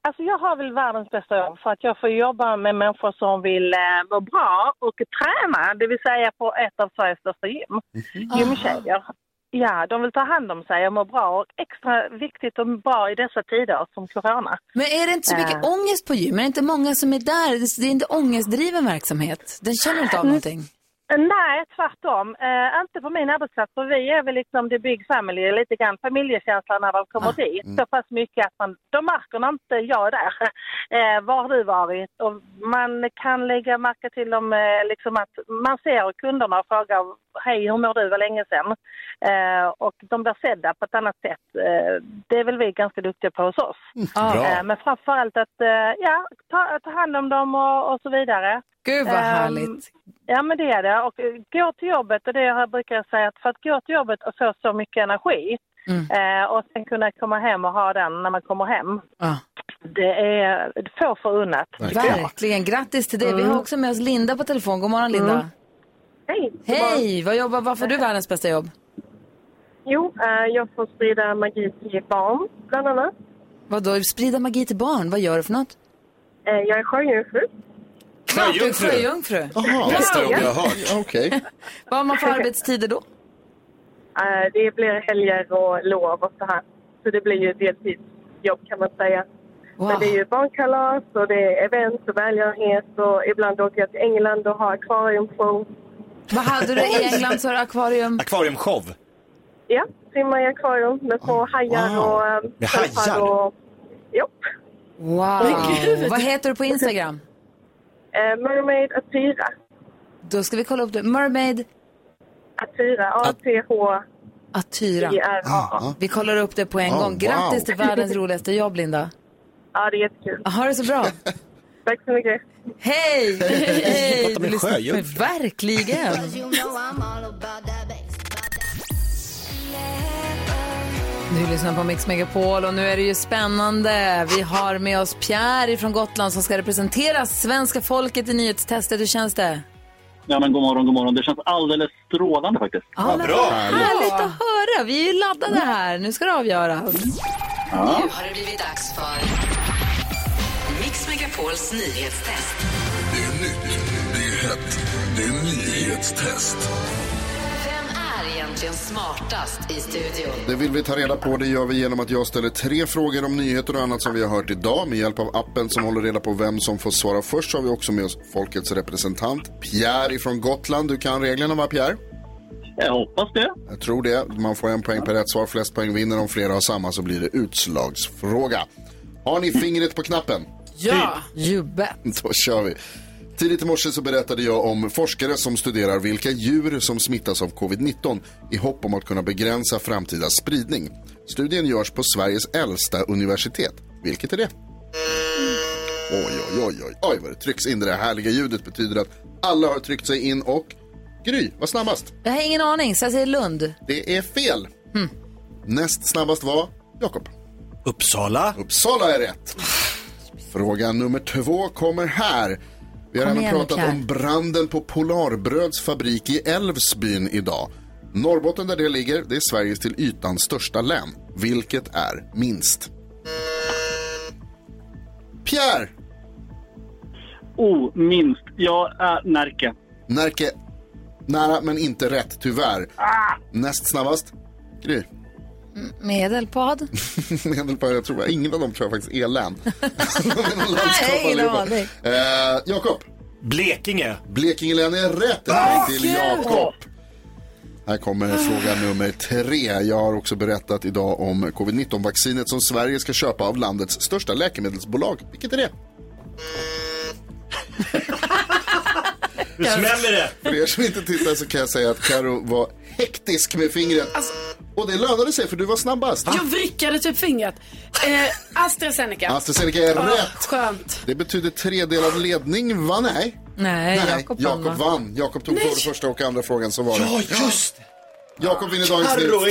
O: Alltså jag har väl världens bästa jobb för att jag får jobba med människor som vill eh, må bra och träna, det vill säga på ett av Sveriges största gym.
A: Mhm.
O: Gymtjejer. Ja, de vill ta hand om sig och må bra och extra viktigt och bra i dessa tider som corona.
A: Men är det inte så mycket
O: Eh.
A: ångest på gym? Är det inte många som är där? Det- Det är inte ångestdriven verksamhet. Den känner inte av
O: Mm.
A: någonting.
O: Nej, tvärtom. Eh, inte på min arbetsplats, för vi är väl liksom the big family, lite grann familjekänslan när de kommer dit.
N: Mm.
O: Så pass mycket att man, de märker när inte jag är där. [laughs] Eh, var har du varit? Och man kan lägga märke till dem, eh, liksom att man ser kunderna och frågar hej, hur mår du, vad länge sedan? Eh, och de blir sedda på ett annat sätt. Eh, det är väl vi ganska duktiga på hos oss.
A: Bra.
O: Eh, men framförallt att eh, ja, ta, ta hand om dem och, och så vidare.
A: Gud vad
O: Ehm,
A: härligt.
O: Ja, men det är det. Och eh, gå till jobbet, och det jag brukar säga, att för att gå till jobbet och få så mycket energi
A: Mm.
O: eh, och sen kunna komma hem och ha den när man kommer hem,
A: Ja.
O: det är få förunnat. tycker jag.
A: Verkligen. Grattis till dig. Vi
O: Mm.
A: har också med oss Linda på telefon. God morgon Linda.
P: Mm. Hej!
A: Hej! Vad jobbar, varför har du världens bästa jobb?
P: Jo, eh, jag får sprida magi till barn, bland annat.
A: Vadå, sprida magi till barn? Vad gör du för något?
P: Eh, jag är sjöjungfru.
A: Sjöjungfru. Sjöjungfru.
P: Jaha, bästa jobb jag har
D: hört. Okej.
A: Vad har man för arbetstider då?
P: Eh, det blir helger och lov och så här. Så det blir ju ett deltidsjobb kan man säga. Men det är ju barnkalas och det är event och välgörenhet och ibland åker jag till England och har akvariumshow.
A: Vad hade du i England? Så har du akvarium?
C: Akvariumshow.
P: Ja, simmar i akvarium med små hajar
C: wow.
P: och... eh,
C: Med
P: sköldpaddor
C: hajar?
P: Och, jo.
A: Wow! Vad heter du på Instagram?
P: Eh, Mermaid Atyra.
A: Då ska vi kolla upp det. Mermaid
P: Atyra, A-T-H.
A: Atyra.
P: Ja.
A: Vi kollar upp det på en
P: Oh,
A: gång. Grattis
P: wow.
A: till världens roligaste jobb, Linda.
P: Ja, det är jättekul.
A: Ha det så
P: [laughs]
A: bra.
P: Tack så mycket.
A: Hej!
P: Jag
A: Hej!
P: pratar med
A: Du lyssnar-
P: sjöjungfru.
A: Men Verkligen. Du lyssnar på Mix Megapol och nu är det ju spännande. Vi har med oss Pierre från Gotland som ska representera svenska folket i nyhetstestet. Hur känns det?
Q: Ja, men god morgon, god morgon. Det känns alldeles strålande faktiskt.
A: Ja, men Härligt att höra. Vi är ju laddade här. Nu ska det avgöras.
Q: Ja.
R: har det blivit dags för Mix Megapols nyhetstest.
S: Det är nytt, det är hett, det är nyhetstest.
R: Vem är egentligen smartast i studion?
D: Det vill vi ta reda på. Det gör vi genom att jag ställer tre frågor om nyheter och annat som vi har hört idag. Med hjälp av appen som håller reda på vem som får svara först så har vi också med oss folkets representant Pierre ifrån Gotland. Du kan reglerna va Pierre?
Q: Jag hoppas det.
D: Jag tror det. Man får en poäng per rätt svar. Flest poäng vinner. Om flera har samma så blir det utslagsfråga. Har ni fingret på knappen?
B: Ja.
A: Jubbe.
D: [laughs] Då kör vi. Tidigt i morse så berättade jag om forskare som studerar vilka djur som smittas av covid-19 i hopp om att kunna begränsa framtida spridning. Studien görs på Sveriges äldsta universitet. Vilket är det? Oj, oj, oj, oj, oj vad det trycks in. Det där härliga ljudet betyder att alla har tryckt sig in och Gry var snabbast.
A: Jag har ingen aning, så jag säger Lund.
D: Det är fel.
T: Hmm.
D: Näst snabbast var Jakob.
C: Uppsala.
D: Uppsala är rätt. Fråga nummer två kommer här. Vi har
T: Kom
D: även
T: igen,
D: pratat
T: Pierre.
D: om branden på Polarbröds fabrik i Älvsbyn idag. Norrbotten där det ligger, det är Sveriges till ytan största län. Vilket är minst? Pierre!
Q: Oh, minst. Jag är Närke.
D: Närke, nära men inte rätt tyvärr. Näst snabbast, Gry. [laughs]
A: Medelpad?
D: Medelpad, jag tror, ingen av dem tror jag faktiskt är län.
A: Nej, ingen
D: allihopa.
A: aning.
D: Eh, Jakob.
C: Blekinge.
D: Blekinge län är rätt.
N: Ah,
D: till
N: kul!
D: Jakob. Här kommer fråga nummer tre. Jag har också berättat idag om covid-19-vaccinet som Sverige ska köpa av landets största läkemedelsbolag. Vilket är det? Nu smäller det! För er som inte tittar så kan jag säga att Karo var hektisk med fingret. Och det lönade sig för du var snabbast.
B: Jag vrickade typ fingret. Eh, AstraZeneca.
D: AstraZeneca är
B: Ah,
D: rätt.
B: Skönt.
D: Det betyder tredelad ledning, va? Nej.
A: Nej, Jakob vann, va?
D: Jakob vann. Jakob tog både första och andra frågan, så var det.
C: Ja, just
D: Jakob vinner dagens nyhetstest.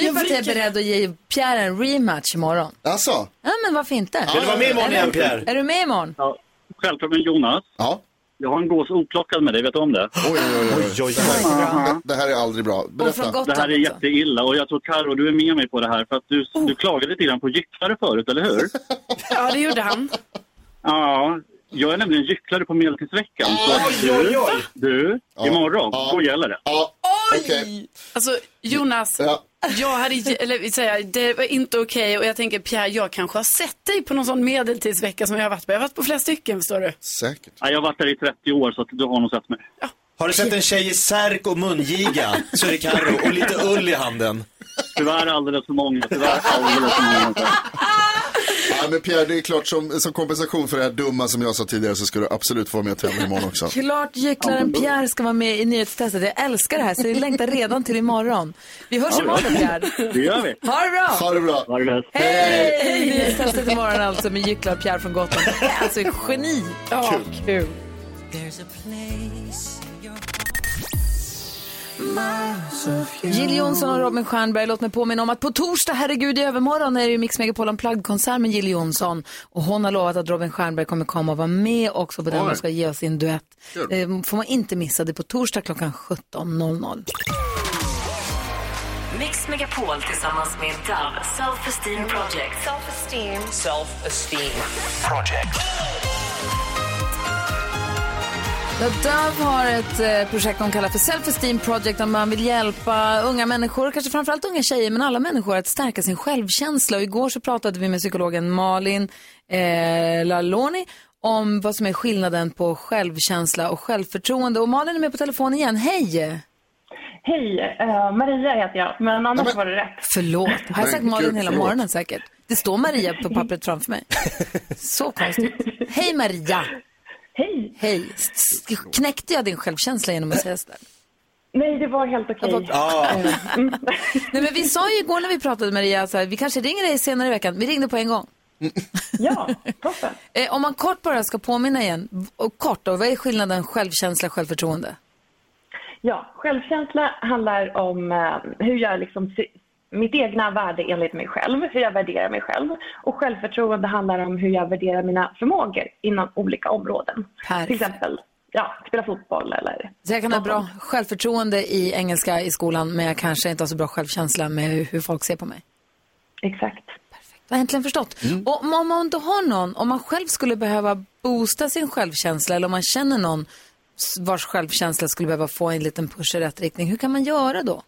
A: Typ att jag är beredd att ge Pierre en rematch imorgon.
D: Alltså?
A: Ja, men varför inte?
D: Vill du vara med imorgon
A: Är du-
D: igen, Pierre?
A: Är du med imorgon?
Q: Ja, självklart med Jonas.
D: Ja.
Q: Jag har en gås oplockad med dig, vet du om det?
D: Oj, oj, oj.
Q: oj.
D: Det, det här är aldrig bra. Berätta.
Q: Det här är jätteilla och jag tror Karo, du är med mig på det här för att du,
A: Oh.
Q: du klagade lite grann på gycklare förut, eller hur?
B: Ja, det gjorde han.
Q: ja, jag är nämligen gycklare på Medeltidsveckan. så att
B: Oj, oj,
Q: du,
B: oj.
Q: du imorgon,
B: Ja.
Q: då gäller det.
B: Oj! Alltså Jonas, jag hade, ge- eller vill säga, det var inte okej och jag tänker Pierre, jag kanske har sett dig på någon sån medeltidsvecka som jag har varit på. Jag har varit på flera stycken förstår du.
D: Säkert.
Q: Ja, jag har varit där i 30 år så att du har nog sett mig.
C: Har du sett en tjej i särk och mungiga så är det Carro och lite ull i handen.
Q: Tyvärr alldeles för många, tyvärr alldeles för många.
D: Ja, men Pierre, det är klart som, som kompensation för det här dumma som jag sa tidigare så ska du absolut få vara med och tävla imorgon
A: [laughs]
D: också.
A: Klart gycklaren Pierre ska vara med i nyhetstestet. Jag älskar det här, så jag längtar redan till imorgon. Vi hörs imorgon, Pierre.
Q: [laughs] Det gör vi.
A: Ha det bra!
D: Ha det bra.
Q: Ha det bäst.
A: Hej! Nyhetstestet imorgon alltså med gycklaren Pierre från Gotland. Alltså, geni! Ja, kul. Jill Johnson och Robin Stjernberg, låt mig påminna om att på torsdag, herregud i övermorgon, är det ju Mix Megapol Unplugged-konsert med Jill Johnson. Och hon har lovat att Robin Stjernberg kommer komma och vara med också på den
R: Oj.
A: och ska ge oss sin duett.
R: Kul.
A: Eh, får man inte missa det på torsdag klockan 17.00.
R: Mix Megapol tillsammans med Dove Self Esteem Project. Self Esteem. Self Esteem Project.
A: Ja, Dove har ett eh, projekt de kallar för Self-Esteem Project där man vill hjälpa unga människor, kanske framförallt unga tjejer, men alla människor att stärka sin självkänsla. Och igår så pratade vi med psykologen Malin eh, Laloni om vad som är skillnaden på självkänsla och självförtroende. Och Malin är med på telefon igen. Hej!
T: Hej, eh, Maria heter jag, men annars var det rätt.
A: Förlåt, har jag sagt
T: Men
A: Malin
T: gud,
A: hela
T: förlåt.
A: morgonen säkert? Det står Maria på pappret framför mig. Så konstigt. Hej Maria!
T: Hej!
A: Hej! S- s- Knäckte jag din självkänsla genom att säga sådär?
T: Nej, det var helt okej. Eh,
A: Mm. Nej, men vi sa ju igår när vi pratade Maria, så här, vi kanske ringer dig senare i veckan. Vi ringde på en gång. ja, toppen. Om man kort bara ska påminna igen, v- och kort då, vad är skillnaden självkänsla och självförtroende?
T: Ja, självkänsla handlar om eh, hur jag liksom ser mitt egna värde enligt mig själv, hur jag värderar mig själv. Och självförtroende handlar om hur jag värderar mina förmågor inom olika områden. Till exempel ja, spela fotboll eller...
A: Så jag kan ha bra självförtroende i engelska i skolan, men jag kanske inte har så bra självkänsla med hur, hur folk ser på mig.
T: Exakt.
A: Perfekt, jag har äntligen förstått. Och om, om man inte har någon, om man själv skulle behöva boosta sin självkänsla, eller om man känner någon s- vars självkänsla skulle behöva få en liten push i rätt riktning, hur kan man göra då?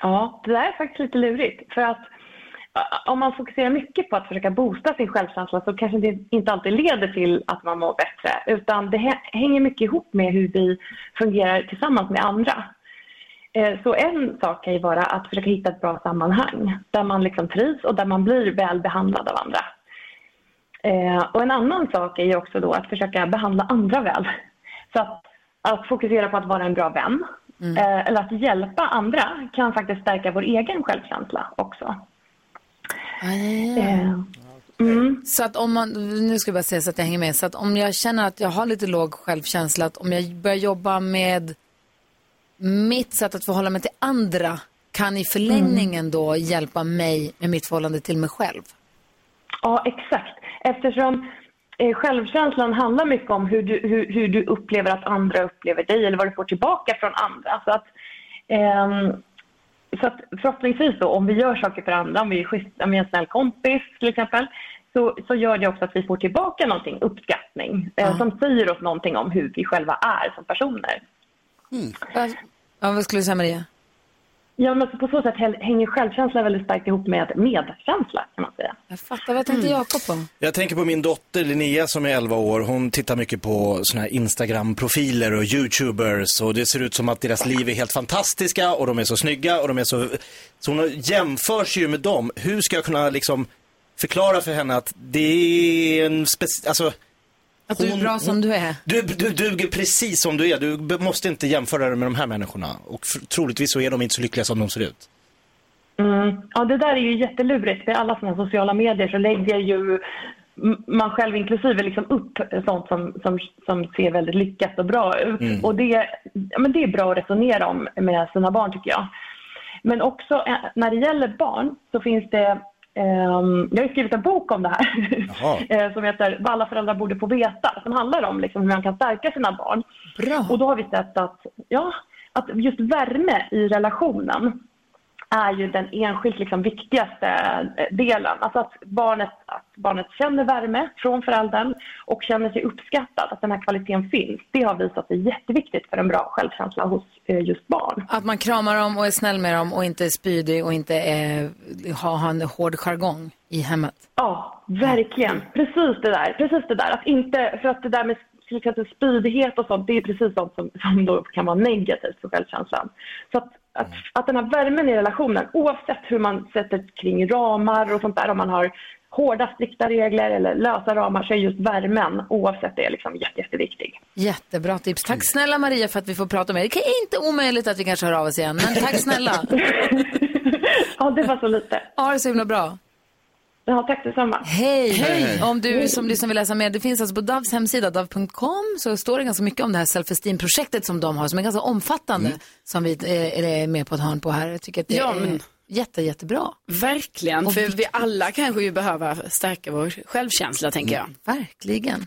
T: Ja, det där är faktiskt lite lurigt. För att ä, om man fokuserar mycket på att försöka boosta sin självkänsla så kanske det inte alltid leder till att man mår bättre. Utan det hä- hänger mycket ihop med hur vi fungerar tillsammans med andra. Eh, Så en sak kan ju vara att försöka hitta ett bra sammanhang där man liksom trivs och där man blir väl behandlad av andra. Eh, Och en annan sak är ju också då att försöka behandla andra väl. Så att, att fokusera på att vara en bra vän eh, eller att hjälpa andra kan faktiskt stärka vår egen självkänsla också. Eh,
A: Ah. Så att om man, nu ska jag bara säga så att jag hänger med, så att om jag känner att jag har lite låg självkänsla, att om jag börjar jobba med mitt sätt att förhålla mig till andra, kan i förlängningen
T: Mm.
A: då hjälpa mig med mitt förhållande till mig själv?
T: Ja, exakt. Eftersom eh, självkänslan handlar mycket om hur du, hur, hur du upplever att andra upplever dig eller vad du får tillbaka från andra. Så att, ehm, så att förhoppningsvis då, om vi gör saker för andra, om vi är, schysst, om vi är en snäll kompis till exempel, så, så gör det också att vi får tillbaka någonting, uppskattning, eh, som säger oss någonting om hur vi själva är som personer.
A: Mm. Ja, vad skulle du säga Maria?
T: Ja, men på så sätt häl- hänger självkänsla väldigt starkt ihop med medkänsla kan man säga.
A: Jag fattar, vad tänkte Jakob på?
C: Jag tänker på min dotter Linnea som är 11 år. Hon tittar mycket på såna här Instagram-profiler och YouTubers och det ser ut som att deras liv är helt fantastiska och de är så snygga och de är så... Så hon jämförs ju med dem. Hur ska jag kunna liksom förklara för henne att det är en spec... Alltså,
A: Att du är bra som du är.
C: Du, du duger precis som du är. Du be- måste inte jämföra dig med de här människorna. Och f- troligtvis så är de inte så lyckliga som de ser ut.
T: Mm. Ja, det där är ju jättelurigt. För alla sådana här sociala medier så lägger ju m- man själv inklusive liksom upp sånt som, som, som ser väldigt lyckat och bra ut.
N: Mm.
T: Och det, ja, men det är bra att resonera om med sina barn tycker jag. Men också eh, när det gäller barn så finns det ehm, jag har ju skrivit en bok om det här [laughs] eh, som heter Vad alla föräldrar borde få veta. Som handlar om liksom hur man kan stärka sina barn. Och då har vi sett att, ja, att just värme i relationen är ju den enskilt liksom viktigaste eh, delen. Alltså att barnet, att barnet känner värme från föräldern och känner sig uppskattad, att den här kvaliteten finns. Det har visat sig jätteviktigt för en bra självkänsla hos eh, just barn.
A: Att man kramar dem och är snäll med dem och inte är spydig och inte är, har, har en hård jargong i hemmet.
T: Ja, verkligen. Precis det där. Precis det där. Att inte, för att det där med till exempel spydighet och sånt, det är precis sånt som, som då kan vara negativt för självkänslan. Så att, att, att den här värmen i relationen, oavsett hur man sätter kring ramar och sånt där, om man har hårda strikta regler eller lösa ramar så är just värmen, oavsett det, liksom jätte, jätteviktig.
A: Jättebra tips. Tack snälla Maria för att vi får prata med dig. Det är inte omöjligt att vi kanske hör av oss igen, men tack snälla.
T: [laughs] ja, det var så lite.
A: Ha det så himla bra.
T: Ja, tack detsamma.
A: Hej!
T: Hej.
A: Om du som lyssnar vill läsa mer, det finns alltså på Davs hemsida, dav.com, så står det ganska mycket om det här self-esteem-projektet som de har, som är ganska omfattande, som vi eh, är med på ett hörn på här. Jag tycker att det
B: Ja,
A: är
B: men-
A: jätte, jättebra.
B: Verkligen, för vi alla kanske ju behöver stärka vår självkänsla tänker jag.
A: Verkligen.